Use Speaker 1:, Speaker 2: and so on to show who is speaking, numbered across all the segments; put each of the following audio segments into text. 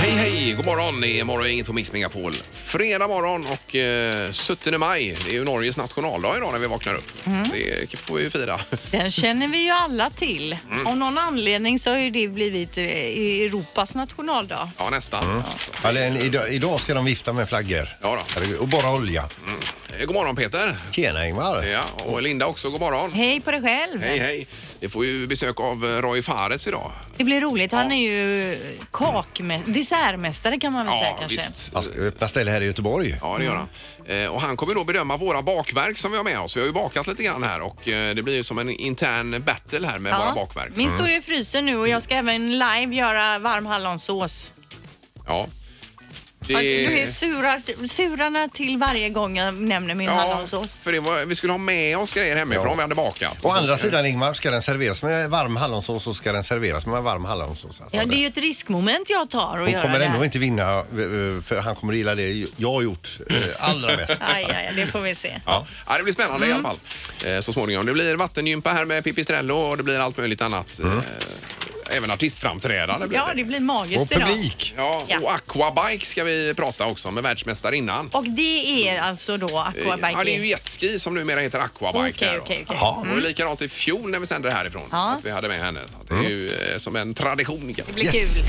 Speaker 1: Hej, hej! God morgon! Det är morgon, inget på Mix Megapol. Fredag morgon och eh, 17 maj. Det är ju Norges nationaldag idag när vi vaknar upp.
Speaker 2: Mm.
Speaker 1: Det får vi ju fira.
Speaker 2: Den känner vi ju alla till. Av någon anledning så har ju det blivit eh, Europas nationaldag.
Speaker 1: Ja, nästan.
Speaker 2: Mm.
Speaker 1: Alltså.
Speaker 3: Ja, det är en, idag, idag ska de vifta med flaggor.
Speaker 1: Ja då.
Speaker 3: Herregud, Och bara olja.
Speaker 1: Eh, God morgon Peter!
Speaker 3: Tjena Ingmar.
Speaker 1: Ja, och Linda också, god morgon.
Speaker 2: Hej på dig själv!
Speaker 1: Hej, hej! Vi får ju besök av eh, Roy Fares idag.
Speaker 2: Det blir roligt. Han är ju kakmä- dessertmästare kan man väl säga kanske.
Speaker 1: visst.
Speaker 3: Man ska öppna ställe här i Göteborg.
Speaker 1: Ja, det gör han.
Speaker 2: Mm.
Speaker 1: Eh, Och han kommer då bedöma våra bakverk som vi har med oss. Vi har ju bakat lite grann här och eh, det blir ju som en intern battle här med
Speaker 2: Ja.
Speaker 1: våra bakverk.
Speaker 2: Min står ju i frysen nu och jag ska även live göra varm hallonsås.
Speaker 1: Ja.
Speaker 2: Ja, Du är surar, surarna till varje gång jag nämner min hallonsås.
Speaker 1: för det var, vi skulle ha med oss grejer hemifrån
Speaker 3: Ja.
Speaker 1: vi hade bakat.
Speaker 3: Å andra sidan Ingmar, ska den serveras med varm hallonsås så ska den serveras med varm hallonsås. Alltså,
Speaker 2: Ja, det är ju ett riskmoment jag tar att
Speaker 3: Hon
Speaker 2: göra
Speaker 3: kommer
Speaker 2: det här.
Speaker 3: ändå inte vinna eh, för han kommer gilla det jag har gjort eh, allra mest.
Speaker 2: Aj, aj, aj, det får vi se.
Speaker 1: Ja. ja, det blir spännande
Speaker 2: Mm.
Speaker 1: i alla fall eh, så småningom. Det blir vattengympa här med Pipistrello och det blir allt möjligt annat.
Speaker 3: Mm.
Speaker 1: Eh, Även artistframträdande blir
Speaker 2: Ja, det blir magiskt
Speaker 3: Och
Speaker 2: idag.
Speaker 3: publik.
Speaker 1: Ja,
Speaker 2: Ja.
Speaker 1: och aquabike ska vi prata också med världsmästarinnan.
Speaker 2: Och det är alltså då aquabiking?
Speaker 1: Ja, det är ju jetski som numera heter aquabike.
Speaker 2: Okej,
Speaker 1: här då.
Speaker 2: okej, okej.
Speaker 3: Jaha.
Speaker 1: Och likadant i fjol när vi sände det härifrån.
Speaker 2: Ja.
Speaker 1: Att vi hade med henne. Att
Speaker 3: Mm.
Speaker 1: Det är ju eh, som en tradition.
Speaker 2: Det blir
Speaker 3: Yes.
Speaker 2: kul.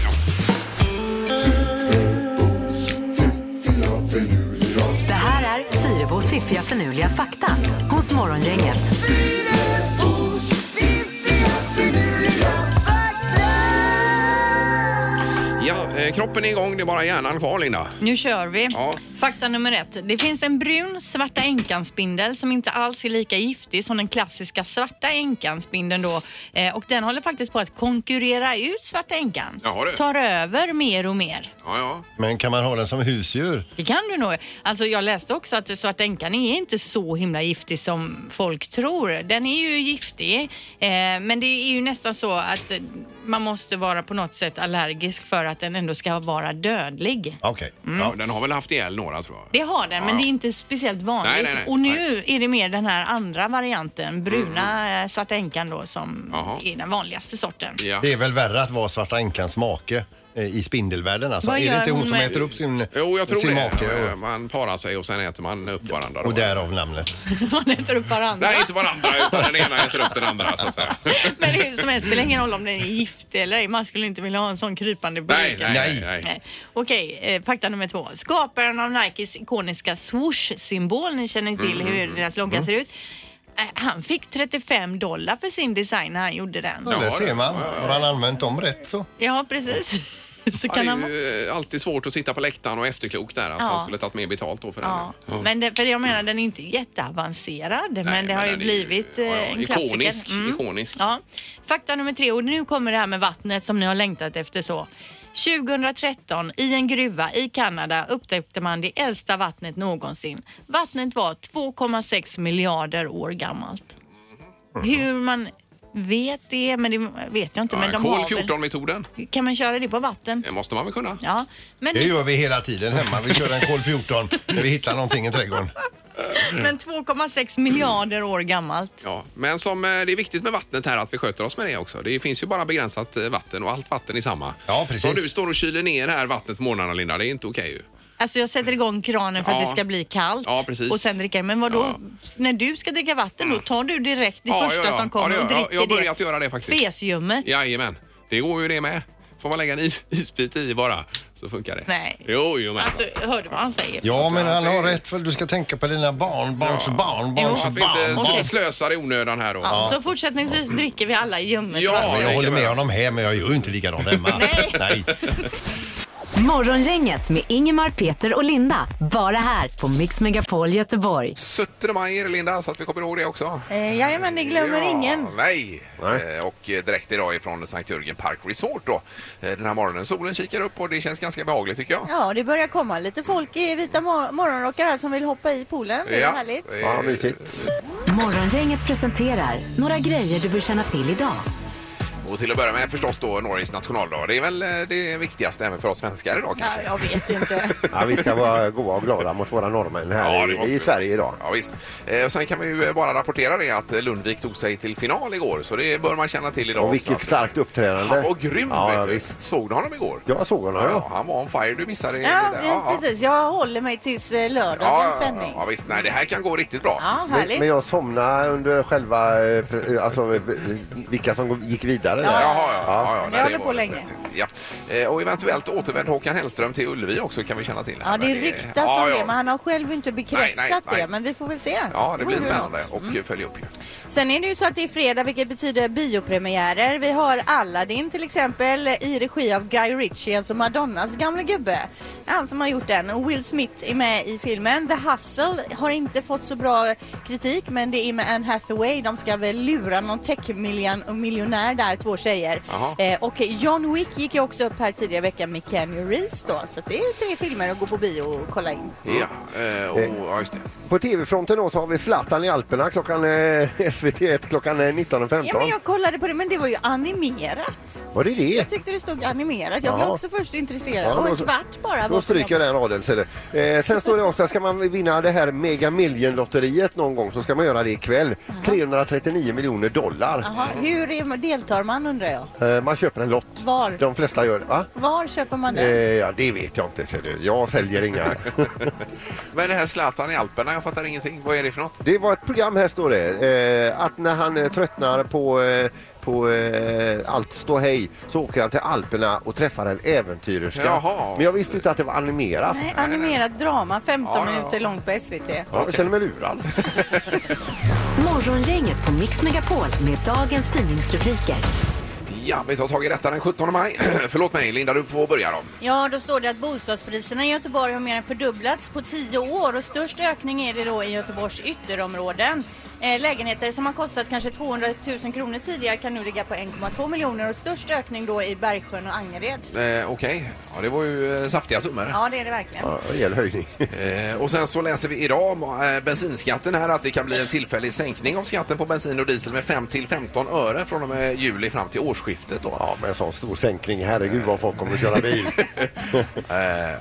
Speaker 4: Det här är Fyrabos fiffiga förnuliga fakta hos Morgongänget.
Speaker 1: Ja, eh, kroppen är igång, det är bara hjärnan kvar Linda.
Speaker 2: Nu kör vi.
Speaker 1: Ja.
Speaker 2: Fakta nummer ett. Det finns en brun Svarta änkan-spindel som inte alls är lika giftig som den klassiska Svarta änkan-spindeln då. Eh, och den håller faktiskt på att konkurrera ut Svarta änkan.
Speaker 1: Jaha, du.
Speaker 2: Tar över mer och mer.
Speaker 1: Ja, ja.
Speaker 3: Men kan man ha den som husdjur?
Speaker 2: Det kan du nog. Alltså jag läste också att Svarta änkan är inte så himla giftig som folk tror. Den är ju giftig, eh, men det är ju nästan så att eh, man måste vara på något sätt allergisk för att den ändå ska vara dödlig.
Speaker 3: Okej.
Speaker 2: Mm.
Speaker 1: ja. Den har väl haft ihjäl några tror jag.
Speaker 2: Det har den, men
Speaker 1: Ja.
Speaker 2: det är inte speciellt vanligt.
Speaker 1: Nej, nej, nej.
Speaker 2: och nu är det mer den här andra varianten, bruna mm. Svarta änkan då, som
Speaker 1: Jaha.
Speaker 2: är den vanligaste sorten.
Speaker 1: Ja.
Speaker 3: Det är väl värre att vara Svarta Ankans make eh, i spindelvärlden alltså.
Speaker 2: Vad
Speaker 3: Är
Speaker 2: gör
Speaker 3: det inte hon
Speaker 2: hon
Speaker 3: som
Speaker 2: med-
Speaker 3: äter upp sin,
Speaker 1: Jo, jag tror
Speaker 3: sin
Speaker 1: det.
Speaker 3: make?
Speaker 1: Eh,
Speaker 3: Och,
Speaker 1: Man parar sig och sen äter man upp varandra. då.
Speaker 3: och därav namnet.
Speaker 2: Man äter upp varandra.
Speaker 1: Nej, inte varandra, utan den ena äter upp den andra så att säga.
Speaker 2: Men hur som helst, spelar ingen roll om den är giftig eller ej. Man skulle inte vilja ha en sån krypande
Speaker 1: Nej,
Speaker 2: blick.
Speaker 1: nej, nej. nej.
Speaker 2: Nej. Okej, eh, fakta nummer två. Skaparen av Nikes ikoniska swoosh-symbol, ni känner till
Speaker 1: Mm,
Speaker 2: hur deras logga ser ut. Eh, Han fick 35 dollar för sin design när han gjorde den.
Speaker 3: Ja,
Speaker 1: Ja,
Speaker 3: där
Speaker 1: det-
Speaker 3: ser man. Har han använt dem rätt så?
Speaker 2: Ja, precis. Så
Speaker 1: Ja,
Speaker 2: kan
Speaker 1: det
Speaker 2: han
Speaker 1: är ju eh, alltid svårt att sitta på läktaren och efterklok där att
Speaker 2: Ja.
Speaker 1: han skulle tagit mer betalt då för den.
Speaker 2: Ja, men det, för jag menar den är inte jätteavancerad men det har ju
Speaker 1: den är ju-
Speaker 2: blivit
Speaker 1: ja,
Speaker 2: eh,
Speaker 1: ja,
Speaker 2: en klassiker. Mm.
Speaker 1: ikonisk, ikonisk.
Speaker 2: Ja. Fakta nummer tre och nu kommer det här med vattnet som ni har längtat efter så. 2013 i en gruva i Kanada upptäckte man det äldsta vattnet någonsin. Vattnet var 2,6 miljarder år gammalt. Hur man vet det, men det vet jag inte. men
Speaker 1: Mhm. Ja,
Speaker 2: de
Speaker 1: Kol
Speaker 2: har väl-
Speaker 1: 14-metoden.
Speaker 2: Kan man köra det på vatten?
Speaker 1: Det måste man väl kunna?
Speaker 2: Ja, men
Speaker 3: Det gör vi hela tiden hemma. Vi kör en kol 14 när vi hittar någonting i trädgården.
Speaker 2: men 2,6 miljarder år gammalt.
Speaker 1: Ja, men som eh, det är viktigt med vattnet här att vi sköter oss med det också. Det finns ju bara begränsat eh, vatten och allt vatten är samma.
Speaker 3: Ja, precis.
Speaker 1: Så om du står och kyler ner här vattnet på morgnarna Linda, det är inte okej ju.
Speaker 2: Alltså jag sätter igång kranen för att
Speaker 1: Ja.
Speaker 2: det ska bli kallt
Speaker 1: Ja, precis.
Speaker 2: och sen dricker Men vadå,
Speaker 1: Ja.
Speaker 2: när du ska dricka vatten då tar du direkt det
Speaker 1: Ja, ja,
Speaker 2: första
Speaker 1: ja.
Speaker 2: som
Speaker 1: Ja, det
Speaker 2: kommer
Speaker 1: gör jag.
Speaker 2: och dricker
Speaker 1: Jag har börjat
Speaker 2: det.
Speaker 1: göra det faktiskt.
Speaker 2: Fesljummet.
Speaker 1: Jajamän, det går ju det med. Får man lägga en is, isbit i bara så funkar det.
Speaker 2: Nej.
Speaker 1: Jo, jo men.
Speaker 2: Alltså, hörde du vad han säger?
Speaker 3: Ja, men han har rätt för du ska tänka på dina barn, barns barn,
Speaker 1: Ja,
Speaker 3: barns
Speaker 1: att vi inte
Speaker 3: barn.
Speaker 1: okay. slösar i onödan här då.
Speaker 2: Ja, Så fortsättningsvis dricker vi alla ljummet
Speaker 1: Ja.
Speaker 3: Men
Speaker 2: vatten.
Speaker 3: jag håller med honom här, men jag gör ju inte likadant hemma.
Speaker 2: Nej.
Speaker 3: Nej.
Speaker 4: Morgongänget med Ingemar, Peter och Linda. Bara här på Mix Megapol Göteborg.
Speaker 1: 17 maj, Linda, så att vi kommer ihåg det också.
Speaker 2: Eh, jajamän, det glömmer
Speaker 1: Ja,
Speaker 2: ingen.
Speaker 1: Nej.
Speaker 3: Nej.
Speaker 1: Eh, Och eh, direkt idag ifrån Sankt Jörgen Park Resort då. Eh, Den här morgonen, solen kikar upp och det känns ganska behagligt tycker jag.
Speaker 2: Ja, det börjar komma lite folk i vita mo- morgonrockar här som vill hoppa i poolen. Det är härligt.
Speaker 1: eh,
Speaker 3: Ja, mysigt.
Speaker 4: Morgongänget presenterar några grejer du bör känna till idag.
Speaker 1: Och till att börja med förstås då Norges nationaldag. Det är väl eh, det viktigaste även för oss svenskar idag
Speaker 2: Ja,
Speaker 1: kanske.
Speaker 2: jag vet inte.
Speaker 5: Ja, vi ska vara goda och glada mot våra norrmän
Speaker 1: Ja,
Speaker 5: här
Speaker 1: det måste
Speaker 5: i,
Speaker 1: vi.
Speaker 5: i Sverige idag.
Speaker 1: Ja, visst. Eh, sen kan vi ju eh, bara rapportera det att eh, Lundvik tog sig till final igår, så det bör man känna till idag.
Speaker 5: Och vilket
Speaker 1: också, alltså.
Speaker 5: starkt uppträdande.
Speaker 1: Han var grym!
Speaker 5: Ja,
Speaker 1: vet
Speaker 5: ja,
Speaker 1: du.
Speaker 5: visst.
Speaker 1: Såg du honom igår?
Speaker 5: Jag såg honom, ja.
Speaker 1: han var on fire. Du missade
Speaker 2: Ja,
Speaker 1: det där.
Speaker 2: men precis. Jag håller mig tills eh,
Speaker 1: Ja,
Speaker 2: lördagens
Speaker 1: ja, ja,
Speaker 2: sändning.
Speaker 1: ja, visst. Nej, det här kan gå riktigt bra.
Speaker 2: Ja,
Speaker 5: Men,
Speaker 2: härligt.
Speaker 5: men jag somnade under själva, eh, pre- eh, alltså eh, vilka som gick vidare där.
Speaker 1: Jaha, ja. ja,
Speaker 5: Ja.
Speaker 1: ja,
Speaker 2: Men
Speaker 1: det
Speaker 2: jag håller
Speaker 1: var
Speaker 2: på
Speaker 1: rätt
Speaker 2: länge.
Speaker 1: rätt. Ja. Eh, Och eventuellt återvänd Håkan Hellström till Ullevi också kan vi känna till. här,
Speaker 2: Ja, det
Speaker 1: men
Speaker 2: ryktas
Speaker 1: ja,
Speaker 2: om
Speaker 1: ja.
Speaker 2: det, men han har själv inte bekräftat
Speaker 1: Nej, nej, nej.
Speaker 2: det. Men vi får väl se.
Speaker 1: Ja, det blir
Speaker 2: vore
Speaker 1: spännande
Speaker 2: något.
Speaker 1: och följa upp ju.
Speaker 2: Sen är det ju så att det är fredag, vilket betyder biopremiärer. Vi har Aladdin till exempel i regi av Guy Ritchie, alltså Madonnas gamla gubbe. Han som har gjort den. Och Will Smith är med i filmen. The Hustle har inte fått så bra kritik, men det är med Anne Hathaway. De ska väl lura någon tech-miljonär där, två tjejer.
Speaker 1: Jaha.
Speaker 2: Eh, och John Wick gick ju också upp här tidigare i veckan med Keanu Reeves då. Så att det är tre filmer att gå på bio och kolla in.
Speaker 1: Ja, eh, och, ja, just det.
Speaker 5: På tv-fronten då så har vi Zlatan i Alperna klockan eh, SVT1 klockan eh, 19.15.
Speaker 2: Ja, men jag kollade på det, men det var ju animerat.
Speaker 5: Var det det?
Speaker 2: Jag tyckte det stod animerat. Jag blev
Speaker 5: Jaha.
Speaker 2: också först intresserad.
Speaker 5: Ja,
Speaker 2: och en
Speaker 5: då-
Speaker 2: kvart bara. var
Speaker 5: Då
Speaker 2: på
Speaker 5: stryker jag den
Speaker 2: jobbet.
Speaker 5: raden. Ser du. Eh, sen står det också, ska man vinna det här Mega Million-lotteriet någon gång så ska man göra det ikväll. 339 miljoner dollar.
Speaker 2: Jaha, hur är, deltar man undrar jag?
Speaker 5: Eh, man köper en lott.
Speaker 2: Var?
Speaker 5: De flesta gör det. Va?
Speaker 2: Var köper man
Speaker 5: Eh,
Speaker 2: den?
Speaker 5: ja, det vet jag inte ser du. Jag säljer inga.
Speaker 1: Men det här Zlatan i Alperna, jag fattar ingenting. Vad är det för något?
Speaker 5: Det var ett program här står det. Eh, att när han eh, tröttnar på, eh, på eh, allt stå hej så åker han till Alperna och träffar en äventyrerska.
Speaker 1: Jaha.
Speaker 5: Men jag visste inte att det var animerat.
Speaker 2: Nej, animerat drama, 15
Speaker 1: Ja, ja, ja.
Speaker 2: minuter långt på SVT.
Speaker 5: Ja, jag känner mig lurad.
Speaker 4: Morgongänget på Mix Megapol med dagens tidningsrubriker.
Speaker 1: Ja, vi tar tag i detta den 17 maj. Förlåt mig, Linda, du får börja då.
Speaker 2: Ja, då står det att bostadspriserna i Göteborg har mer än fördubblats på 10 år och störst ökning är det då i Göteborgs ytterområden. Eh, lägenheter som har kostat kanske 200 000 kronor tidigare kan nu ligga på 1,2 miljoner och störst ökning då i Bergsjön och Angered.
Speaker 1: Eh, Okej, ja, det var ju eh, saftiga summor.
Speaker 2: Ja, det är det verkligen.
Speaker 5: Ja, rejäl höjning.
Speaker 1: Eh, och sen så läser vi idag om eh, bensinskatten här att det kan bli en tillfällig sänkning av skatten på bensin och diesel med 5 till 15 öre från och med juli fram till årsskiftet. Då.
Speaker 5: Ja, men en sån stor sänkning. Herregud vad folk kommer att köra bil.
Speaker 1: Eh,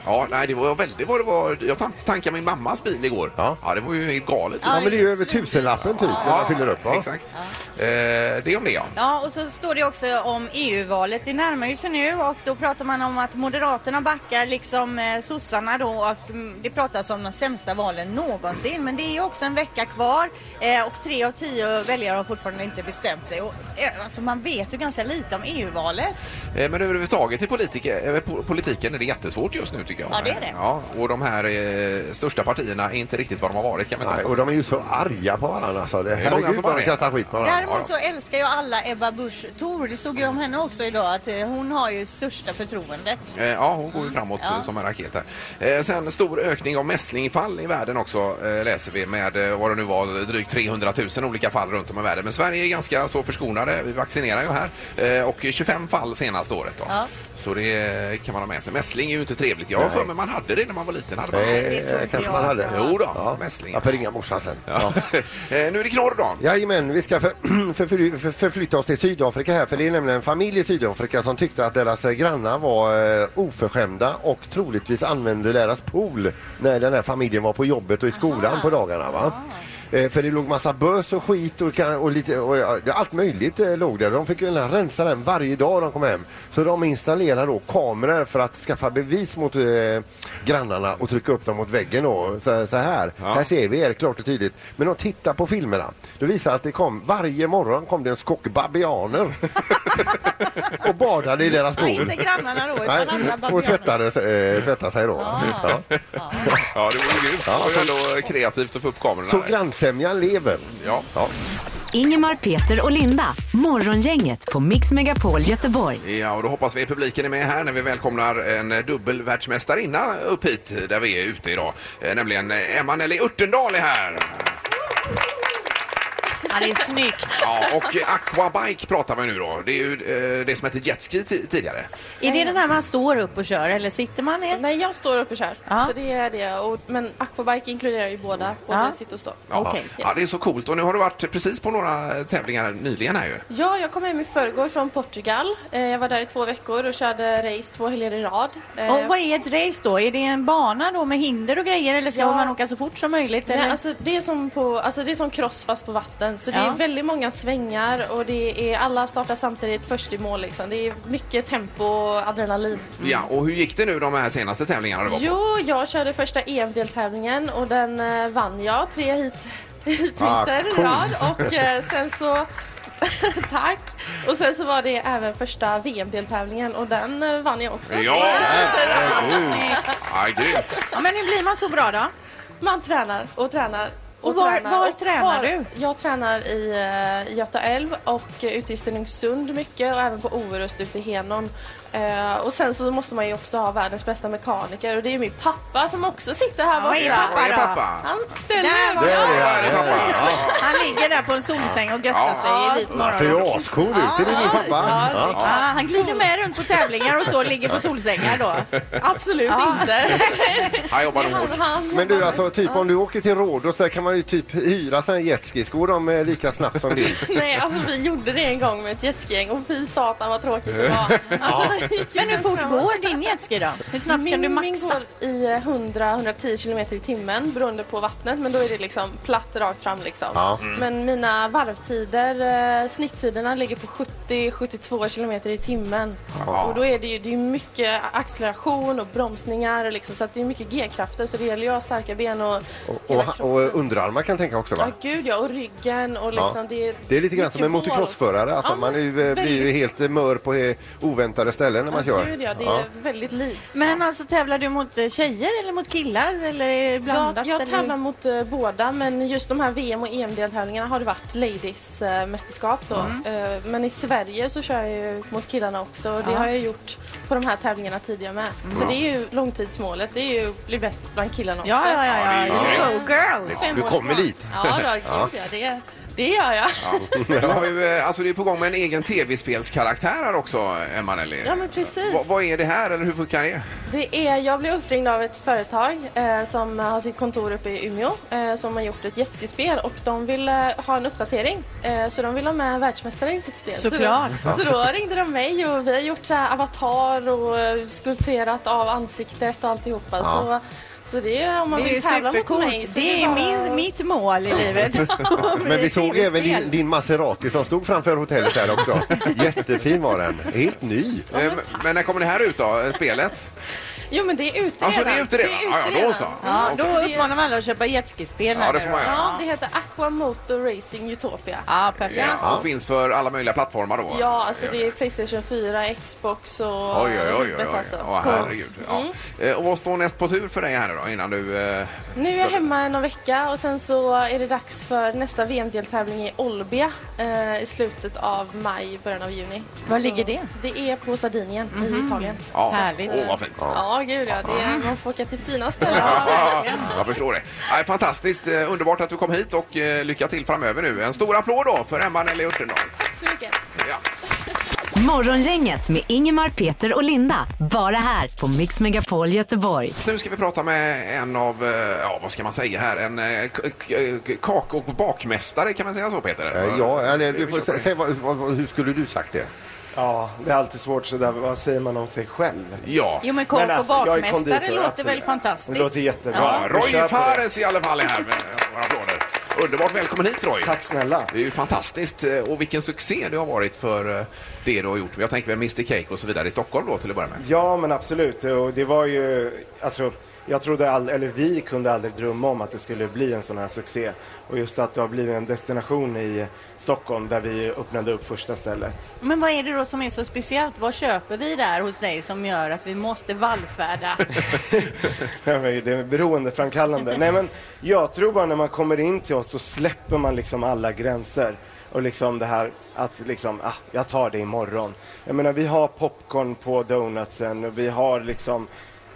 Speaker 1: ja, nej, det var väldigt vad det var. Jag tan- tankade min mammas bil igår.
Speaker 5: Ja.
Speaker 1: det var ju helt galet.
Speaker 5: Ja, men det är ju över tusenlappen typ när man fyller upp. Va?
Speaker 1: Exakt. Eh, det är om det, ja.
Speaker 2: Ja, och så står det också om EU-valet. Det närmar ju sig nu och då pratar man om att Moderaterna backar liksom eh, sossarna då och mm, det pratas om de sämsta valen någonsin. Men det är ju också en vecka kvar eh, och tre av tio väljare har fortfarande inte bestämt sig. Och, eh, alltså man vet ju ganska lite om E EU-valet.
Speaker 1: Eh, Men överhuvudtaget i politiker, eh, po- politiken är det jättesvårt just nu tycker jag.
Speaker 2: Ja, det är det.
Speaker 1: Ja, och de här eh, största partierna är inte riktigt vad de har varit kan man inte
Speaker 5: Nej,
Speaker 1: säga.
Speaker 5: och de är ju så arga på varandra. Alltså. Det,
Speaker 1: många som
Speaker 5: herregud vad
Speaker 1: är
Speaker 5: de
Speaker 1: det.
Speaker 5: kastar skit på varandra.
Speaker 1: ja.
Speaker 2: Däremot så älskar ju alla Ebba Busch Thor. Det stod ju om henne också idag att eh, hon har ju största förtroendet.
Speaker 1: Eh, Ja, hon går ju framåt
Speaker 2: ja.
Speaker 1: eh, som en raket här. Eh, Sen stor ökning av mässlingfall i världen också eh, läser vi med eh, vad det nu var drygt 300 000 olika fall runt om i världen. Men Sverige är ganska så förskonade. Vi vaccinerar ju här Eh, och 25 fall senaste året då.
Speaker 2: Ja.
Speaker 1: Så det eh, kan man ha med sig. Mässling är ju inte trevligt. Jag har för mig man hade det när man var liten. Hade man.
Speaker 5: Eh,
Speaker 2: det tror inte
Speaker 5: kanske
Speaker 2: jag
Speaker 5: man
Speaker 2: att
Speaker 5: hade.
Speaker 2: jag har.
Speaker 1: Jo då,
Speaker 5: Ja.
Speaker 1: mässling.
Speaker 5: Jag får ringa morsan sen. Ja.
Speaker 1: Eh, nu är det knorr då.
Speaker 5: Jajamän, vi ska för, för, för, för, förflytta oss till Sydafrika här för det är nämligen en familj i Sydafrika som tyckte att deras eh, grannar var eh, oförskämda och troligtvis använde deras pool när den här familjen var på jobbet och i skolan på dagarna. Va? Eh, För det låg massa bös och skit och, kan- och, lite, och ja, allt möjligt eh, låg där. De fick ju nästan rensa den varje dag de kom hem. Så de installerade då kameror för att skaffa bevis mot eh, grannarna och trycka upp dem mot väggen då. Så, så här. Här ser vi er klart och tydligt. Men de tittar på filmerna. Det visar att det kom varje morgon kom det en skock babianer och badade i deras
Speaker 2: Ja,
Speaker 5: pool.
Speaker 2: inte grannarna då, utan andra
Speaker 5: Nej, och
Speaker 2: babianer. Ah.
Speaker 5: tvättade, eh, tvättade sig då. Ja.
Speaker 1: Ja, det vore grymt.
Speaker 5: Ja,
Speaker 1: det var ju
Speaker 5: så-
Speaker 1: ändå kreativt att få upp kamerorna.
Speaker 5: Så
Speaker 1: där.
Speaker 5: grannsämjan lever.
Speaker 1: Ja.
Speaker 5: Ja.
Speaker 4: Ingemar, Peter och Linda. Morgongänget på Mix Megapol Göteborg.
Speaker 1: Ja, och då hoppas vi att publiken är med här när vi välkomnar en dubbel världsmästarinna upp hit där vi är ute idag. Eh, Nämligen eh, Emma Nelly Örtendahl är här.
Speaker 2: Ja, det är snyggt.
Speaker 1: Ja, och eh, aquabike pratar vi nu då. Det är ju eh, det som hette jetski ti- tidigare.
Speaker 2: Är det den här man står upp och kör eller sitter man ner?
Speaker 6: Nej, jag står upp och kör.
Speaker 2: Ja.
Speaker 6: Så det är det. Och, men aquabike inkluderar ju båda, både
Speaker 2: Ja.
Speaker 6: sitt och stå.
Speaker 1: Ja.
Speaker 2: Okej.
Speaker 1: ja, det är så coolt. Och nu har du varit precis på några tävlingar nyligen här ju.
Speaker 6: Ja, jag kom hem i förrgår från Portugal. Eh, Jag var där i två veckor och körde race två helger i rad. Eh,
Speaker 2: Och vad är ett race då? Är det en bana då med hinder och grejer eller ska
Speaker 6: Ja.
Speaker 2: man åka så fort som möjligt?
Speaker 6: Nej,
Speaker 2: eller?
Speaker 6: alltså det, är som på, alltså det är som cross fast på vatten. Så det
Speaker 2: Ja.
Speaker 6: är väldigt många svängar och det är, alla startar samtidigt först i mål. Liksom. Det är mycket tempo och adrenalin.
Speaker 1: Ja, och hur gick det nu de här senaste tävlingarna du var på?
Speaker 6: Jo, jag körde första EM-deltävlingen och den eh, vann jag. Tre hit twister i
Speaker 5: coolt.
Speaker 6: rad. Och eh, sen så... Tack! Och sen så var det även första VM-deltävlingen och den eh, vann jag också.
Speaker 1: Ja!
Speaker 2: Snyggt.
Speaker 1: Ja, grymt.
Speaker 2: Ja, men hur blir man så bra då?
Speaker 6: Man tränar och tränar.
Speaker 2: Och var-
Speaker 6: tränar.
Speaker 2: var tränar du?
Speaker 6: Jag tränar i eh, Göta älv och eh, ute i Stenungsund mycket och även på Orust ute i Henon. Eh, och sen så måste man ju också ha världens bästa mekaniker och det är min pappa som också sitter här
Speaker 2: vad är
Speaker 6: borta.
Speaker 2: pappa
Speaker 1: Var är
Speaker 2: då?
Speaker 1: pappa?
Speaker 6: Han ställer
Speaker 2: Där var
Speaker 5: Det är
Speaker 2: jag.
Speaker 5: det,
Speaker 1: Var är
Speaker 5: ja.
Speaker 1: pappa? Ja.
Speaker 2: Han ligger där på en solsäng och
Speaker 1: Ja.
Speaker 2: göttar sig i vit
Speaker 5: Han ser ju
Speaker 2: morgon.
Speaker 5: ascool ut. alltså, Är det din pappa? Ja.
Speaker 2: Ja, han glider med runt på tävlingar och så ligger på solsängar då.
Speaker 6: Absolut inte.
Speaker 1: Han jobbar nog hårt.
Speaker 5: Men du, alltså, typ om du åker till Rhodos så kan man ju typ hyra sådana jetskis. Går de eh, lika snabbt som din?
Speaker 6: Nej, alltså vi gjorde det en gång med ett jetskigäng och fy satan vad tråkigt det var. Alltså, det gick ju
Speaker 2: Men hur
Speaker 6: ens
Speaker 2: fort
Speaker 6: framåt.
Speaker 2: går din jetski då? Hur snabbt kan du
Speaker 6: Min, Mm, min
Speaker 2: maxa?
Speaker 6: går i eh, 100-110 kilometer i timmen beroende på vattnet men då är det liksom platt rakt fram liksom.
Speaker 5: Ja. Mm.
Speaker 6: Men mina varvtider, eh, snitttiderna ligger på 70-72 kilometer i timmen. Och då är det ju det är ju mycket acceleration och bromsningar och liksom, så att det är mycket G-krafter så det gäller ju att ha starka ben och,
Speaker 5: Och,
Speaker 6: hela
Speaker 5: ha-
Speaker 6: kroppen.
Speaker 5: och underarmar kan tänka också
Speaker 6: Ja,
Speaker 5: va?
Speaker 6: gud ja. Och ryggen och liksom
Speaker 5: Ja.
Speaker 6: det är...
Speaker 5: Det är lite grann som en
Speaker 6: mycket vår.
Speaker 5: motocrossförare. Alltså,
Speaker 6: Ja,
Speaker 5: man är ju, eh,
Speaker 6: väldigt-
Speaker 5: blir ju helt eh, mör på eh, oväntade ställen när man
Speaker 6: Ja,
Speaker 5: kör.
Speaker 6: gud ja. Det är
Speaker 5: Ja.
Speaker 6: väldigt likt.
Speaker 2: Men alltså tävlar du mot eh, tjejer eller mot killar eller är det blandat?
Speaker 6: Jag, jag
Speaker 2: eller?
Speaker 6: tävlar mot eh, båda men just de här VM och EM-deltävlingarna har det varit ladies-mästerskap då.
Speaker 2: Mm.
Speaker 6: Eh, men i Sverige så kör jag ju mot killarna också och det har jag gjort på de här tävlingarna tidigare med. Så det är ju långtidsmålet, det är ju att bli bäst bland killarna också.
Speaker 2: Mm. Ja, ja,
Speaker 1: Ja,
Speaker 2: ja.
Speaker 1: det
Speaker 2: ja.
Speaker 1: är
Speaker 2: You go girl!
Speaker 5: Du kommer dit.
Speaker 6: Ja, då, gud ja. Det, det gör jag.
Speaker 1: Du har ju, eh, alltså, du är på gång med en egen tv-spelskaraktär här också, Emma Nelly.
Speaker 6: Ja, men precis.
Speaker 1: Vad- Vad är det här eller hur funkar det?
Speaker 6: Det är, jag blev uppringd av ett företag eh, som har sitt kontor uppe i Umeå eh, som har gjort ett jetskispel och de vill eh, ha en uppdatering. Eh, så de vill ha med världsmästare i sitt spel.
Speaker 2: Såklart.
Speaker 6: Så då, så då ringde de mig och vi har gjort så här avatar och eh, skulpterat av ansiktet och alltihopa. Så, så det är om man
Speaker 2: Det är ju
Speaker 6: vill tävla mot mig.
Speaker 2: supercoolt.
Speaker 6: så
Speaker 2: Det är
Speaker 6: bara-
Speaker 2: min, mitt mål i livet.
Speaker 5: Men vi såg även din,
Speaker 2: din...
Speaker 5: din Maserati som stod framför hotellet här också. Jättefin var den. Helt ny.
Speaker 1: Eh, men, när kommer det här ut då, eh, spelet?
Speaker 6: Jo men det är ute
Speaker 1: Alltså det är
Speaker 6: redan.
Speaker 1: ute redan? Ja, ja, då så. Mm,
Speaker 2: Ja, då
Speaker 1: Okej.
Speaker 2: uppmanar man alla att köpa jetskispel
Speaker 1: Ja,
Speaker 2: här
Speaker 1: det
Speaker 2: nu
Speaker 1: får man
Speaker 2: då.
Speaker 1: göra.
Speaker 6: Ja, det heter Aqua Motor Racing Utopia.
Speaker 2: Ja, perfekt.
Speaker 1: Ja, och finns för alla möjliga plattformar då?
Speaker 6: Ja, alltså det är Playstation 4, Xbox och...
Speaker 1: Oj, oj, oj, oj,
Speaker 6: Vet
Speaker 1: oj.
Speaker 6: alltså.
Speaker 1: Ja, herregud. Ja.
Speaker 6: Mm.
Speaker 1: Eh, Och vad står näst på tur för dig här nu då, innan du... eh,
Speaker 6: Nu är jag hemma en vecka och sen så är det dags för nästa VM-deltävling i Olbia eh, i slutet av maj, början av juni.
Speaker 2: Var
Speaker 6: så
Speaker 2: ligger det? Mhm.
Speaker 6: Det är på Sardinien i Italien.
Speaker 1: Ja,
Speaker 2: Härligt.
Speaker 1: Åh, vad fint.
Speaker 6: Ja, gud ja. Det är, man får åka till fina ställen.
Speaker 1: Ja, jag förstår det. Nej, fantastiskt, eh, underbart att du kom hit och eh, lycka till framöver nu. En stor applåd då för Emma Nelly Örtendahl.
Speaker 6: Tack så mycket.
Speaker 1: Ja.
Speaker 4: Morgongänget med Ingemar, Peter och Linda. Bara här på Mix Megapol Göteborg.
Speaker 1: Nu ska vi prata med en av, eh, ja vad ska man säga här, en eh, k- k- k- kak och bakmästare kan man säga så Peter?
Speaker 5: Eh, Ja, eller du
Speaker 1: Vi kör
Speaker 5: får
Speaker 1: på
Speaker 5: sä-
Speaker 1: det.
Speaker 5: säg vad, vad, vad- hur skulle du sagt det?
Speaker 7: Ja, det är alltid svårt sådär. Vad säger man om sig själv?
Speaker 1: Ja.
Speaker 2: Jo, men
Speaker 7: Men
Speaker 2: kock och
Speaker 7: alltså, jag är
Speaker 2: bakmästare
Speaker 7: konditor,
Speaker 2: låter
Speaker 7: absolut.
Speaker 2: väl fantastiskt?
Speaker 7: Det låter jättebra.
Speaker 1: ja,
Speaker 7: Vi kör
Speaker 1: Roy
Speaker 7: på det.
Speaker 1: Fares i alla fall är här med våra applåder. Underbart välkommen hit Roy!
Speaker 7: Tack snälla.
Speaker 1: Det är ju fantastiskt eh, och vilken succé det har varit för eh, det du har gjort. Jag tänker väl Mr Cake och så vidare i Stockholm då till att börja med.
Speaker 7: Ja, men absolut. Och det var ju, alltså, jag trodde all, eller vi kunde aldrig drömma om att det skulle bli en sån här succé. Och just att det har blivit en destination i Stockholm där vi öppnade upp första stället.
Speaker 2: Men vad är det då som är så speciellt? Vad köper vi där hos dig som gör att vi måste vallfärda?
Speaker 7: Ja, men Det är beroendeframkallande. Nej, men jag tror bara när man kommer in till oss så släpper man liksom alla gränser. Och liksom det här att liksom, ah, jag tar det imorgon. Jag menar, vi har popcorn på donutsen och vi har liksom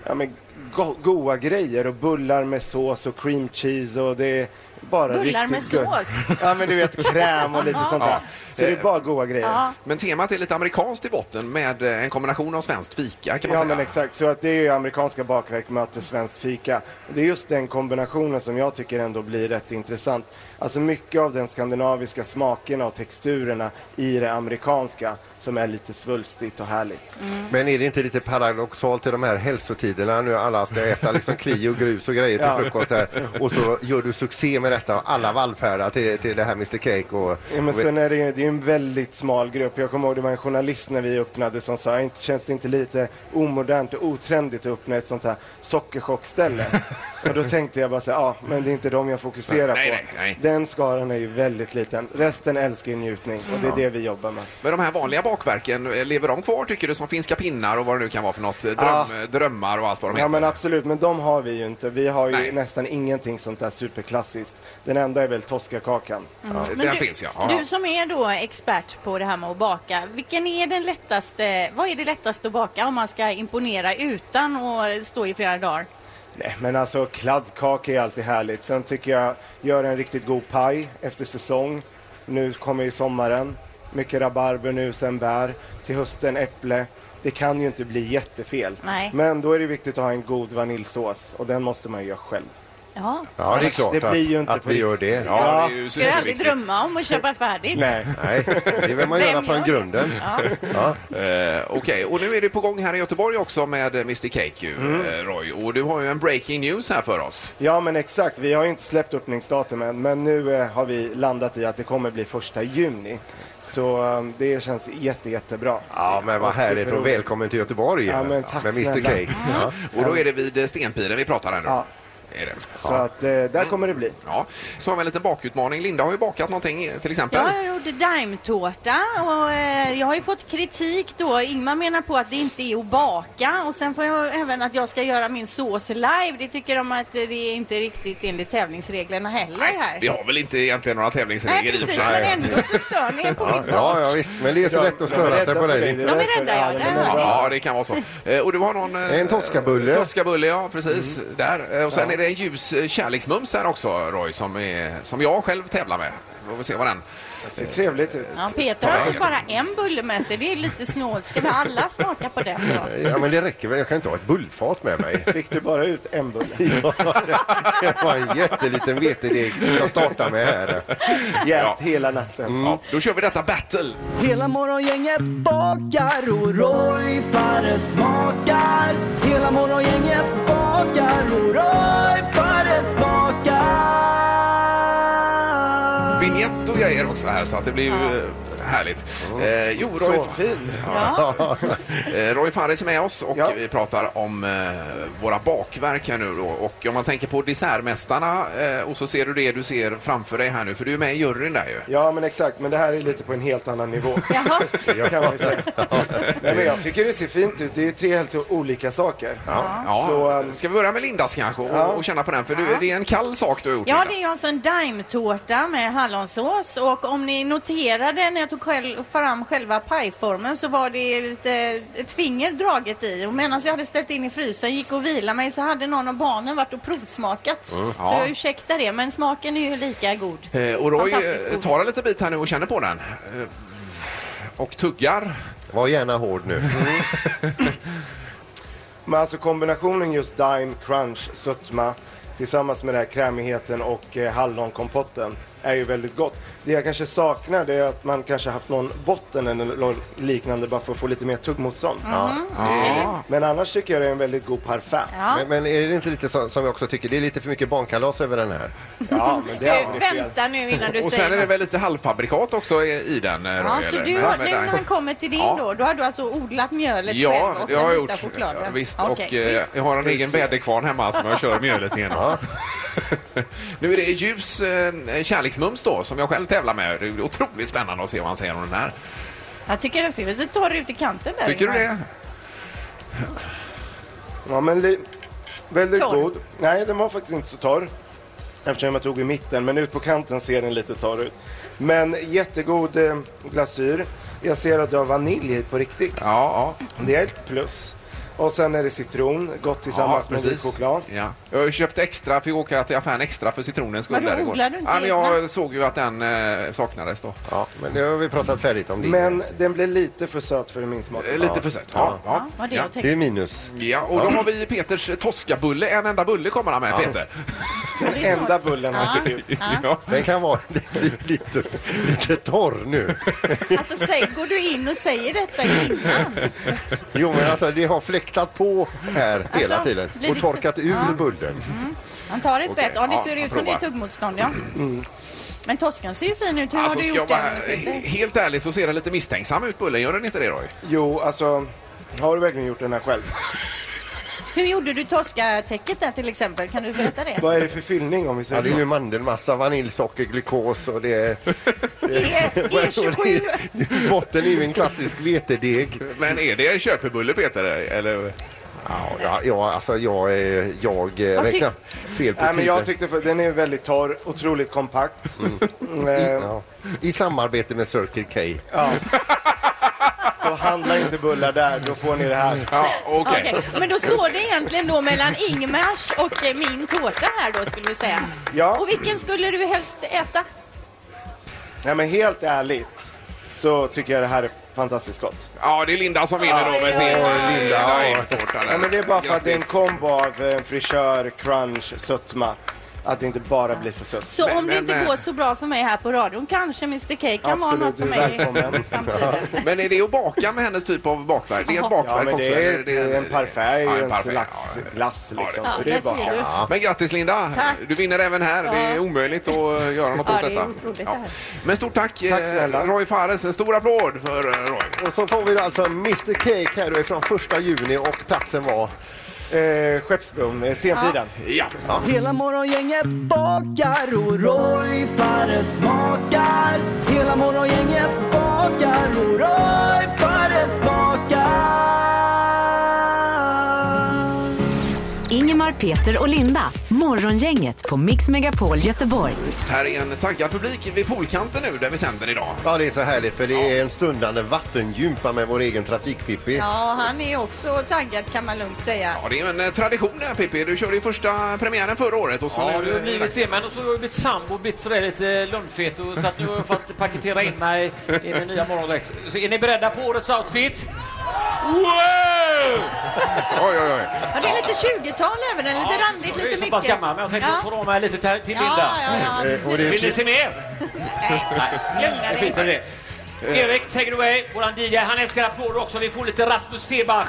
Speaker 7: ja, men go- goa grejer och bullar med sås och cream cheese och det är bara
Speaker 2: Bullar
Speaker 7: riktigt
Speaker 2: med
Speaker 7: gött.
Speaker 2: sås?
Speaker 7: Ja, men du vet kräm och lite sånt där.
Speaker 1: Ja.
Speaker 7: Så det är bara goa grejer.
Speaker 2: Ja.
Speaker 1: Men temat är lite amerikanskt i botten med eh, en kombination av svenskt fika kan man
Speaker 7: Ja
Speaker 1: säga.
Speaker 7: men exakt, så att det är ju amerikanska bakverk möter svenskt fika. Och Det är just den kombinationen som jag tycker ändå blir rätt intressant. Alltså mycket av den skandinaviska smakerna och texturerna i det amerikanska som är lite svulstigt och härligt.
Speaker 5: Men är det inte lite paradoxalt i de här hälsotiderna nu alla ska äta liksom kli och grus och grejer till
Speaker 7: Ja.
Speaker 5: frukost här och så gör du succé med detta och alla vallfärdar till, till det här Mr Cake och...
Speaker 7: Ja, men sen är det, ju- det är ju en väldigt smal grupp. Jag kommer ihåg det var en journalist när vi öppnade som sa, "Inte- känns det inte lite omodernt och otrendigt att öppna ett sånt här sockerchockställe? och då tänkte jag bara så här, ja men det är inte de jag fokuserar
Speaker 1: Nej,
Speaker 7: på.
Speaker 1: nej, nej.
Speaker 7: Den skaran är ju väldigt liten. Resten älskar ju njutning och det är det vi jobbar med.
Speaker 1: Men de här vanliga bakverken, eh, lever de kvar tycker du som finska pinnar och vad det nu kan vara för något? Eh, Dröm,
Speaker 7: Ja.
Speaker 1: eh, Drömmar och allt vad de
Speaker 7: Ah.
Speaker 1: heter.
Speaker 7: Ja men absolut, men de har vi ju inte. Vi har ju nästan ingenting sånt där superklassiskt. Den enda är väl Toscakakan.
Speaker 2: Mm. Men du- Du som är då expert på det här med att baka, vilken är den lättaste, vad är det lättaste att baka om man ska imponera utan att stå i flera dagar?
Speaker 7: Nej, men alltså kladdkaka är alltid härligt. Sen tycker jag, gör en riktigt god paj efter säsong. Nu kommer ju sommaren. Mycket rabarber nu, sen bär. Till hösten äpple. Det kan ju inte bli jättefel.
Speaker 2: Nej.
Speaker 7: Men då är det viktigt att ha en god vaniljsås och den måste man ju göra själv.
Speaker 2: Ja.
Speaker 5: Ja, det är klart
Speaker 7: Det blir ju inte
Speaker 5: att, att
Speaker 7: på
Speaker 5: vi gör
Speaker 7: riktigt.
Speaker 5: det.
Speaker 7: Ja, det är
Speaker 2: Ska jag aldrig drömma om att köpa färdigt?
Speaker 7: Nej.
Speaker 5: Nej, det vill man göra
Speaker 2: Vem
Speaker 5: från
Speaker 2: gör
Speaker 5: grunden. Ja.
Speaker 1: Eh, Okej, och nu är det på gång här i Göteborg också med eh, Mr Cake ju,
Speaker 7: Mm.
Speaker 1: eh, Roy. Och du har ju en breaking news här för oss.
Speaker 7: Ja, men exakt. Vi har ju inte släppt öppningsdatum än, men nu eh, har vi landat i att det kommer bli första juni. Så eh, det känns jätte, jättebra.
Speaker 5: Ja, men vad
Speaker 7: Och
Speaker 5: härligt och
Speaker 7: superroligt.
Speaker 5: välkommen till Göteborg
Speaker 7: Ja, men tack
Speaker 5: med Mr
Speaker 7: snälla.
Speaker 5: Cake. Ja.
Speaker 1: Och då är det vid eh, Stenpiren vi pratar här nu.
Speaker 7: Ja.
Speaker 1: Är det.
Speaker 7: Så att eh, där kommer det bli.
Speaker 1: Ja, så har vi en liten bakutmaning. Linda har ju bakat någonting eh, till exempel.
Speaker 2: Ja, jag gjorde daimtårta och eh, jag har ju fått kritik då. Ingmar menar på att det inte är att baka och sen får jag även att jag ska göra min sås live. Det tycker de att eh, det är inte riktigt enligt tävlingsreglerna heller här.
Speaker 1: Vi har väl inte egentligen några tävlingsregler
Speaker 2: Nej,
Speaker 1: i och för
Speaker 2: precis,
Speaker 1: sig.
Speaker 2: men ändå så stör ni er på
Speaker 5: Ja,
Speaker 2: mitt
Speaker 5: ja, ja, visst, men det är så
Speaker 7: Ja,
Speaker 5: lätt att
Speaker 7: de är
Speaker 5: störa sig
Speaker 7: rädda
Speaker 5: på
Speaker 7: för
Speaker 5: dig.
Speaker 7: dig.
Speaker 5: Linda.
Speaker 2: De är rädda, ja. Där hör ni.
Speaker 1: Ja, det kan vara så. Eh, Och du har någon... eh,
Speaker 5: En toskabulle.
Speaker 1: Toskabulle, ja precis.
Speaker 7: Mm.
Speaker 1: Där. Eh, Och sen är det en ljus eh, kärleksmums här också, Roy, som, är, som jag själv tävlar med. Vi får se vad den...
Speaker 7: Det ser trevligt ut.
Speaker 2: Ja, Peter har alltså bara en bulle med sig. Det är lite snålt. Ska vi alla smaka på den då?
Speaker 5: Ja, men det räcker väl. Jag kan inte ha ett bullfat med mig.
Speaker 7: Fick du bara ut en bulle?
Speaker 5: Det var en jätteliten vetedeg jag startade med här.
Speaker 7: Jäst hela natten.
Speaker 5: Mm.
Speaker 1: Ja, då kör vi detta battle.
Speaker 8: Hela morgongänget bakar och Roy Fares smakar. Hela morgongänget bakar och Roy Fares smakar.
Speaker 1: Vignett och grejer också här, så att det blir ju eh, härligt. Eh, jo, Roy,
Speaker 7: Så fin.
Speaker 1: Ja. Eh, Roy Fares är med oss och
Speaker 7: Ja.
Speaker 1: vi pratar om eh, våra bakverk här nu då. Och om man tänker på Dessertmästarna eh, och så ser du det du ser framför dig här nu, för du är med i juryn där ju.
Speaker 7: Ja, men exakt. Men det här är lite på en helt annan nivå.
Speaker 2: Jaha.
Speaker 7: Kan vi säga. Nej, men jag tycker det ser fint ut. Det är tre helt olika saker.
Speaker 1: Ja.
Speaker 7: Så, ehm,
Speaker 1: Ska vi börja med Lindas kanske och, och känna på den? För du, det är en kall sak du har gjort
Speaker 2: Ja,
Speaker 1: Linda.
Speaker 2: det är ju alltså en daimtårta med hallonsås och om ni noterade när jag tog själv, fram själva pajformen så var det lite, ett finger draget i och medan jag hade ställt in i frysen, gick och vila mig så hade någon av barnen varit och provsmakat. Så
Speaker 1: Mm, Ja.
Speaker 2: jag ursäktar det, men smaken är ju lika god.
Speaker 1: Eh, och Roy
Speaker 2: Fantastiskt
Speaker 1: eh,
Speaker 2: god.
Speaker 1: tar en liten bit här nu och känner på den. Eh, och tuggar.
Speaker 5: Var gärna hård nu.
Speaker 7: Men alltså kombinationen just Dime, Crunch, sötma tillsammans med den här krämigheten och eh, hallonkompotten är ju väldigt gott. Det jag kanske saknar det är att man kanske haft någon botten eller något liknande bara för att få lite mer tuggmotstånd. Eh,
Speaker 1: Ja.
Speaker 7: Men annars tycker jag det är en väldigt god parfait.
Speaker 2: Ja.
Speaker 5: Men, men är det inte lite så, som jag också tycker, det är lite för mycket barnkalas över den här?
Speaker 7: Ja, men det är aldrig
Speaker 2: Eh,
Speaker 7: fel.
Speaker 2: Vänta nu innan du
Speaker 1: Och
Speaker 2: säger
Speaker 1: sen är det
Speaker 2: något.
Speaker 1: väl lite halvfabrikat också i, i den. eh, Roy,
Speaker 2: Ja, så
Speaker 1: eller?
Speaker 2: du
Speaker 1: Men-
Speaker 2: har,
Speaker 1: men-
Speaker 2: nu när han kommer till din
Speaker 1: Ja.
Speaker 2: då, då har du alltså odlat mjölet
Speaker 1: Ja,
Speaker 2: själv och
Speaker 1: det har jag
Speaker 2: den
Speaker 1: gjort.
Speaker 2: vita chokladen?
Speaker 1: Ja, visst,
Speaker 2: Okej,
Speaker 1: och eh, jag har en
Speaker 7: Ska vi
Speaker 1: egen
Speaker 7: se.
Speaker 1: väderkvarn hemma som jag kör mjölet i.
Speaker 5: Ja.
Speaker 1: nu är det ljus eh, kärleksmums då, som jag själv tävlar med. Det är otroligt spännande att se vad han säger om den här.
Speaker 2: Jag tycker den ser lite torr ut i kanten där.
Speaker 1: Tycker du
Speaker 2: Ingmar.
Speaker 1: det?
Speaker 7: Ja, men li- väldigt
Speaker 2: Torr.
Speaker 7: god. Nej, den var faktiskt inte så torr. Eftersom jag tog i mitten, men ut på kanten ser den lite torr ut. Men jättegod eh, glasyr. Jag ser att du har vanilj hit på riktigt.
Speaker 1: Ja,
Speaker 7: Det är ett plus. Och sen är det citron, gott tillsammans med vit choklad.
Speaker 1: Ja. Jag har ju köpt extra, fick åka till affären extra för citronens skull.
Speaker 7: Vadå,
Speaker 1: där igår.
Speaker 7: odlar du inte
Speaker 1: ja, men Jag
Speaker 7: egna?
Speaker 1: såg ju att den eh, saknades då.
Speaker 5: Ja, men nu har vi pratat färdigt om det.
Speaker 7: Men den blir lite för söt för min smak.
Speaker 1: Eh, Lite för sött. Ja, ja.
Speaker 7: vad det
Speaker 1: ja.
Speaker 7: jag tänkte. Det är
Speaker 5: minus.
Speaker 1: Ja, och då har vi Peters Toscabulle. En enda bulle kommer han med,
Speaker 5: Ja.
Speaker 1: Peter.
Speaker 7: Den enda bullen han fick ut.
Speaker 1: Ja.
Speaker 5: Den kan vara lite, lite torr nu.
Speaker 2: Alltså säg, går du in och säger detta innan?
Speaker 5: Jo, men alltså, det har fläktat på här hela tiden
Speaker 2: blir
Speaker 5: och
Speaker 2: det-
Speaker 5: torkat ur
Speaker 2: Ja.
Speaker 5: bullen.
Speaker 2: Han tar ett
Speaker 5: Okej,
Speaker 2: bett. Ja, det
Speaker 5: ja,
Speaker 2: ser
Speaker 5: jag
Speaker 2: ut som det är
Speaker 1: provar.
Speaker 2: tuggmotstånd, ja. Men toskan ser ju fin ut. Hur
Speaker 1: Alltså,
Speaker 2: har du
Speaker 1: ska
Speaker 2: gjort
Speaker 1: jag
Speaker 2: den?
Speaker 1: vara he- helt ärlig så ser den lite misstänksam ut, bullen. Gör den inte det, Roy?
Speaker 7: Jo, alltså, har du verkligen gjort den här själv?
Speaker 2: Hur gjorde du toskatäcket där till exempel? Kan du berätta det?
Speaker 7: Vad är det för fyllning om vi säger
Speaker 5: Ja, det är ju
Speaker 7: så?
Speaker 5: mandelmassa, vaniljsocker, glukos och det är...
Speaker 2: eh, E E27.
Speaker 5: Botten är ju en klassisk vetedeg.
Speaker 1: Men är det en köpebulle, Peter? Eller?
Speaker 5: Ja, ja, ja alltså jag, eh, jag eh,
Speaker 7: tyck-
Speaker 5: räknar fel på
Speaker 7: Nej, men jag
Speaker 5: tiden.
Speaker 7: tyckte för, den är väldigt torr, otroligt kompakt. Eh,
Speaker 5: Ja. I samarbete med Circle K.
Speaker 7: Så handla inte bullar där, då får ni det här.
Speaker 1: Ja,
Speaker 2: Okej, Men då står det egentligen då mellan Ingmars och eh, min tårta här då skulle vi säga.
Speaker 7: Ja.
Speaker 2: Och vilken skulle du helst äta?
Speaker 7: Nej, men helt ärligt så tycker jag det här är fantastiskt gott.
Speaker 1: Ja, det är Linda som vinner då med sin eh, lilla aimtårta.
Speaker 7: Nej, men det är bara för att det är en
Speaker 1: Grattis.
Speaker 7: kombo av eh, frisör, crunch, sötma. Att det inte bara blir för sött.
Speaker 2: Så om det inte går så bra för mig här på radion kanske Mr K kan vara något
Speaker 7: Absolut,
Speaker 2: för
Speaker 7: du är
Speaker 2: mig.
Speaker 7: välkommen.
Speaker 1: Men är det att baka med hennes typ av bakverk? Det är ett bakverk
Speaker 7: Ja, men
Speaker 1: också?
Speaker 7: det är
Speaker 1: eller
Speaker 7: ett, en parfait,
Speaker 1: Ja, en
Speaker 7: en
Speaker 1: parfait,
Speaker 7: slags glass liksom.
Speaker 1: Ja,
Speaker 7: så
Speaker 1: det
Speaker 7: det är
Speaker 1: ser
Speaker 7: bara...
Speaker 1: du. Men grattis Linda!
Speaker 7: Tack.
Speaker 1: Du vinner även här. Det är
Speaker 7: Ja.
Speaker 1: omöjligt att göra något
Speaker 7: Ja,
Speaker 1: åt
Speaker 7: det är
Speaker 1: detta.
Speaker 7: otroligt det här.
Speaker 1: Men stort tack, eh,
Speaker 5: snälla.
Speaker 1: Roy Fares. En stor applåd för eh, Roy.
Speaker 5: Och så får vi då alltså Mr Cake här då ifrån första juni och platsen var?
Speaker 7: Eh, Skeppsbron, eh, Stenbidan.
Speaker 1: Ja.
Speaker 8: Hela morgongänget bakar och Roy Fares smakar. Hela morgongänget bakar och Roy Fares smakar.
Speaker 4: Ingemar, Peter och Linda. Morgongänget på Mix Megapol Göteborg.
Speaker 1: Här är en taggad publik vid poolkanten nu där vi sänder idag.
Speaker 5: Ja, det är så härligt för det är en stundande vattengympa med vår egen trafikpippi.
Speaker 2: Ja, han är också taggad kan man lugnt säga.
Speaker 1: Ja, det är ju en eh, tradition här Pippi. Du körde ju första premiären förra året. Och så
Speaker 9: Ja,
Speaker 1: nu,
Speaker 9: det har blivit
Speaker 1: dags.
Speaker 9: det. Men så har jag blivit sambo och blivit sådär lite lönnfet. och- Så att nu har jag fått paketera in mig i min nya morgondräkt. Så är ni beredda på årets outfit? Wow!
Speaker 1: Oj, oj, oj.
Speaker 2: Ja, det är lite 20-tal över den, lite randigt,
Speaker 9: Jag är
Speaker 2: lite
Speaker 9: så pass
Speaker 2: mycket.
Speaker 9: gammal, men jag tänkte
Speaker 2: Ja.
Speaker 9: ta av mig lite till till
Speaker 2: Ja,
Speaker 9: Linda.
Speaker 2: ja, ja. Eh, och det är
Speaker 9: Vill ni
Speaker 2: fri-
Speaker 9: se mer? Nej, lugna dig. Erik, take it away. Våran DJ, han älskar applåder också. Vi får lite Rasmus Sebach.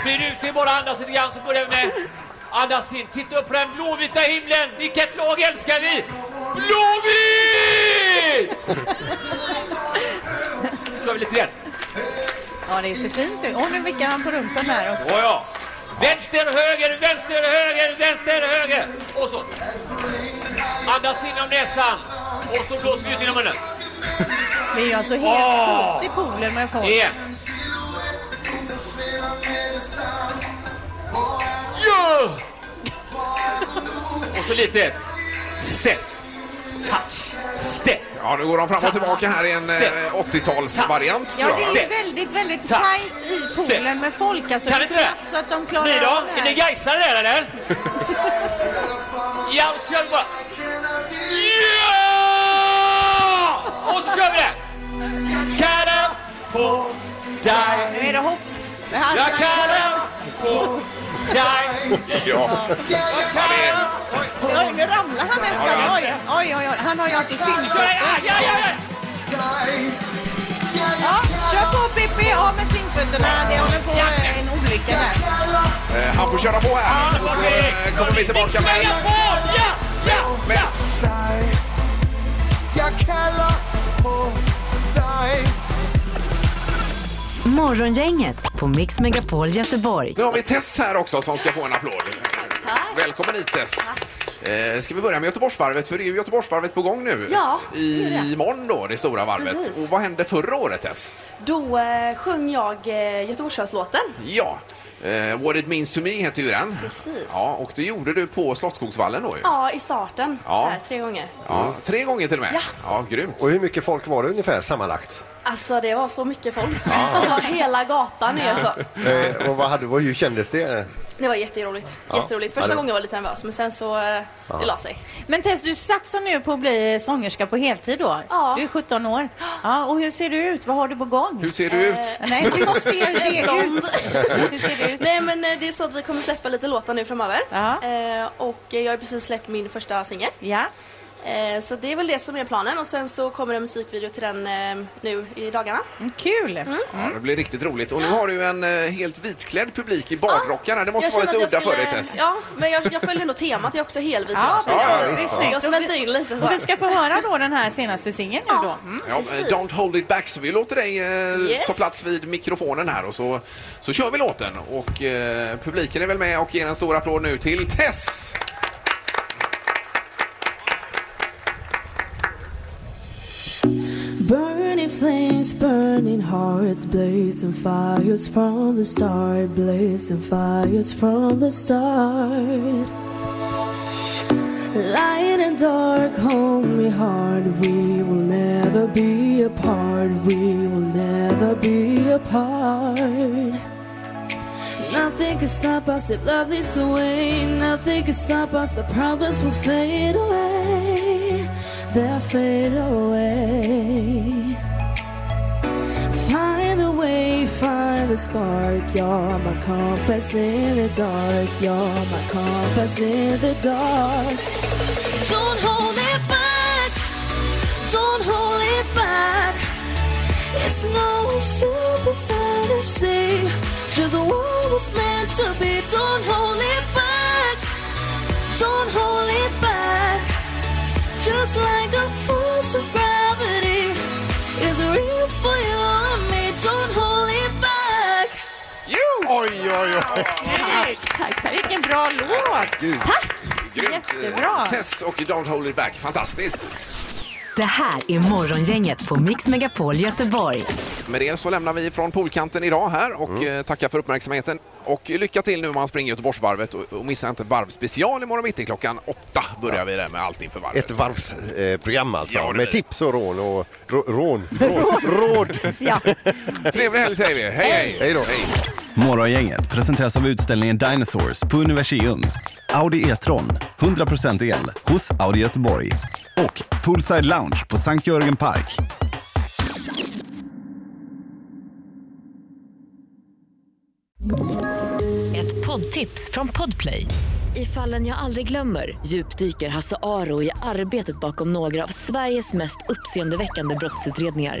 Speaker 9: Sprid ut er bara, andas lite grann så börjar vi med... Andas in, titta upp på den blåvita himlen. Vilket lag älskar vi? Blåvitt! Så kör vi lite igen.
Speaker 2: Ja, det ser fint ut. Åh, nu vickar han på rumpan här också.
Speaker 9: Ja, ja. Vänster, höger, vänster, höger, vänster, höger. Och så. Andas in genom näsan. Och så blåser vi ut genom munnen.
Speaker 2: Det är ju alltså helt
Speaker 9: Åh!
Speaker 2: fullt i poolen med folk.
Speaker 9: Igen. Ja! Och så lite ett. Step. Touch. Step.
Speaker 1: Ja, nu går de fram och tillbaka här i en eh, 80-talsvariant.
Speaker 2: Ja,
Speaker 1: tror jag.
Speaker 2: det är väldigt, väldigt
Speaker 1: Tack.
Speaker 2: tajt i poolen med folk. Alltså,
Speaker 9: Kan
Speaker 2: Det är
Speaker 9: inte det?
Speaker 2: knappt Så att de klarar
Speaker 9: Ni då? Är
Speaker 2: av
Speaker 9: ni
Speaker 2: det här.
Speaker 9: gaisare där eller? Ja, och så kör vi bara. Ja! Och så kör vi det. Kallar på dig.
Speaker 2: Nu är det hopp. Det här-
Speaker 9: Jag kallar på dig.
Speaker 1: Ja.
Speaker 9: Jag kallar
Speaker 2: Oj, nu ramlar han nästan. Oj, oj, oj. oj. Han har ju alltså simfötter. Ja, kör på Pippi. Ja, med simfötterna. Det håller på eh, en olycka där.
Speaker 1: Eh, Han får köra på här. Och så eh, kommer vi tillbaka med... med
Speaker 10: Jag kallar på dig
Speaker 4: Morgongänget på Mix Megapol Göteborg.
Speaker 1: Nu har vi Tess här också som ska få en applåd. Välkommen hit Tess. Eh, ska vi börja med Göteborgsvarvet? För det är ju Göteborgsvarvet på gång nu.
Speaker 11: Ja, det är det.
Speaker 1: Imorgon då, det stora varvet.
Speaker 11: Precis.
Speaker 1: Och vad hände förra året Tess?
Speaker 11: Då eh, sjöng jag eh, Göteborgsvarvslåten.
Speaker 1: Ja, Eh, What it means to me heter ju den.
Speaker 11: Precis.
Speaker 1: Ja, och det gjorde du på Slottskogsvallen då ju.
Speaker 11: Ja, i starten.
Speaker 1: Ja.
Speaker 11: Där, tre gånger.
Speaker 1: Ja, tre gånger till och med.
Speaker 11: Ja.
Speaker 1: ja grymt.
Speaker 5: Och hur mycket folk var det ungefär sammanlagt?
Speaker 11: Alltså det var så mycket folk. Det var hela gatan ner så.
Speaker 5: Eh, och vad hade, vad, hur kändes det?
Speaker 11: Det var jätteroligt.
Speaker 5: Ja.
Speaker 11: jätteroligt.
Speaker 5: Ja,
Speaker 11: Första
Speaker 5: det-
Speaker 11: gången var jag lite nervös men sen så eh,
Speaker 5: Ja.
Speaker 11: det la sig.
Speaker 12: Men Tess, du satsar nu på att bli sångerska på heltid då? Ja. Du är 17 år. Ja, och hur ser du ut? Vad har du på gång?
Speaker 1: Hur ser du ut?
Speaker 11: Eh.
Speaker 12: Nej, hur ser det ut?
Speaker 11: Nej men eh, det är så att vi kommer släppa lite låtar nu framöver. Eh, och eh, jag har precis släppt min första singel.
Speaker 12: Ja.
Speaker 11: Eh, så det är väl det som är planen och sen så kommer det en musikvideo till den eh, nu i dagarna.
Speaker 12: Mm,
Speaker 11: Mm.
Speaker 12: Kul!
Speaker 1: Ja, det blir riktigt roligt. Och nu har du en eh, helt vitklädd publik i badrockarna. Det måste
Speaker 11: Jag
Speaker 1: vara
Speaker 11: känner
Speaker 1: lite
Speaker 11: att
Speaker 1: udda
Speaker 11: jag
Speaker 1: för dig
Speaker 11: skulle-
Speaker 1: Tess.
Speaker 11: Ja, men jag, jag följer nog temat. Jag är också helvit.
Speaker 12: Ja,
Speaker 11: här, så
Speaker 1: precis.
Speaker 11: jag-
Speaker 1: Det är
Speaker 11: Jag
Speaker 1: snyggt.
Speaker 11: smälter in lite.
Speaker 12: Och vi ska få höra då den här senaste singeln nu då. Mm.
Speaker 1: Ja, eh, don't hold it back, så vi låter dig eh,
Speaker 12: Yes.
Speaker 1: ta plats vid mikrofonen här och så, så kör vi låten. Och eh, publiken är väl med och ger en stor applåd nu till Tess!
Speaker 13: Burning flames, burning hearts, blazing fires from the start, blazing fires from the start. Light and dark, hold me hard, we will never be apart, we will never be apart. Nothing can stop us if love leads the way. Nothing can stop us. Our problems will fade away. They'll fade away. Find the way, find the spark. You're my compass in the dark. You're my compass in the dark. Don't hold it back. Don't hold it back. It's no stupid fantasy. Just what was meant to be. Don't hold it back. Don't hold it back. Just like a force of gravity is real for you and me. Don't hold it back.
Speaker 1: Oj, oj, oj!
Speaker 12: Tack. Vilken bra låt!
Speaker 1: Tack! Grymt.
Speaker 12: Jättebra.
Speaker 1: Tess och Don't hold it back, fantastiskt!
Speaker 4: Det här är Morgongänget på Mix Megapol Göteborg.
Speaker 1: Med det så lämnar vi från poolkanten idag här och eh, tackar för uppmärksamheten. Och lycka till nu om man springer Göteborgsvarvet och, och missa inte varvspecial imorgon mitt i klockan åtta börjar vi där med allt inför varvet.
Speaker 5: Ett varvsprogram alltså,
Speaker 1: Ja, det blir
Speaker 5: med
Speaker 1: det.
Speaker 5: tips och rån och rå, rån, råd. råd.
Speaker 1: Trevlig helg säger vi. Hej, hej!
Speaker 5: Hej då.
Speaker 14: Morgongänget presenteras av utställningen Dinosaurs på Universium. Audi E-tron, 100% el, hos Audi Göteborg. Och Poolside Lounge på Sankt Jörgen Park.
Speaker 15: Ett poddtips från Podplay. I fallen jag aldrig glömmer djupdyker Hasse Aro i arbetet bakom några av Sveriges mest uppseendeväckande brottsutredningar.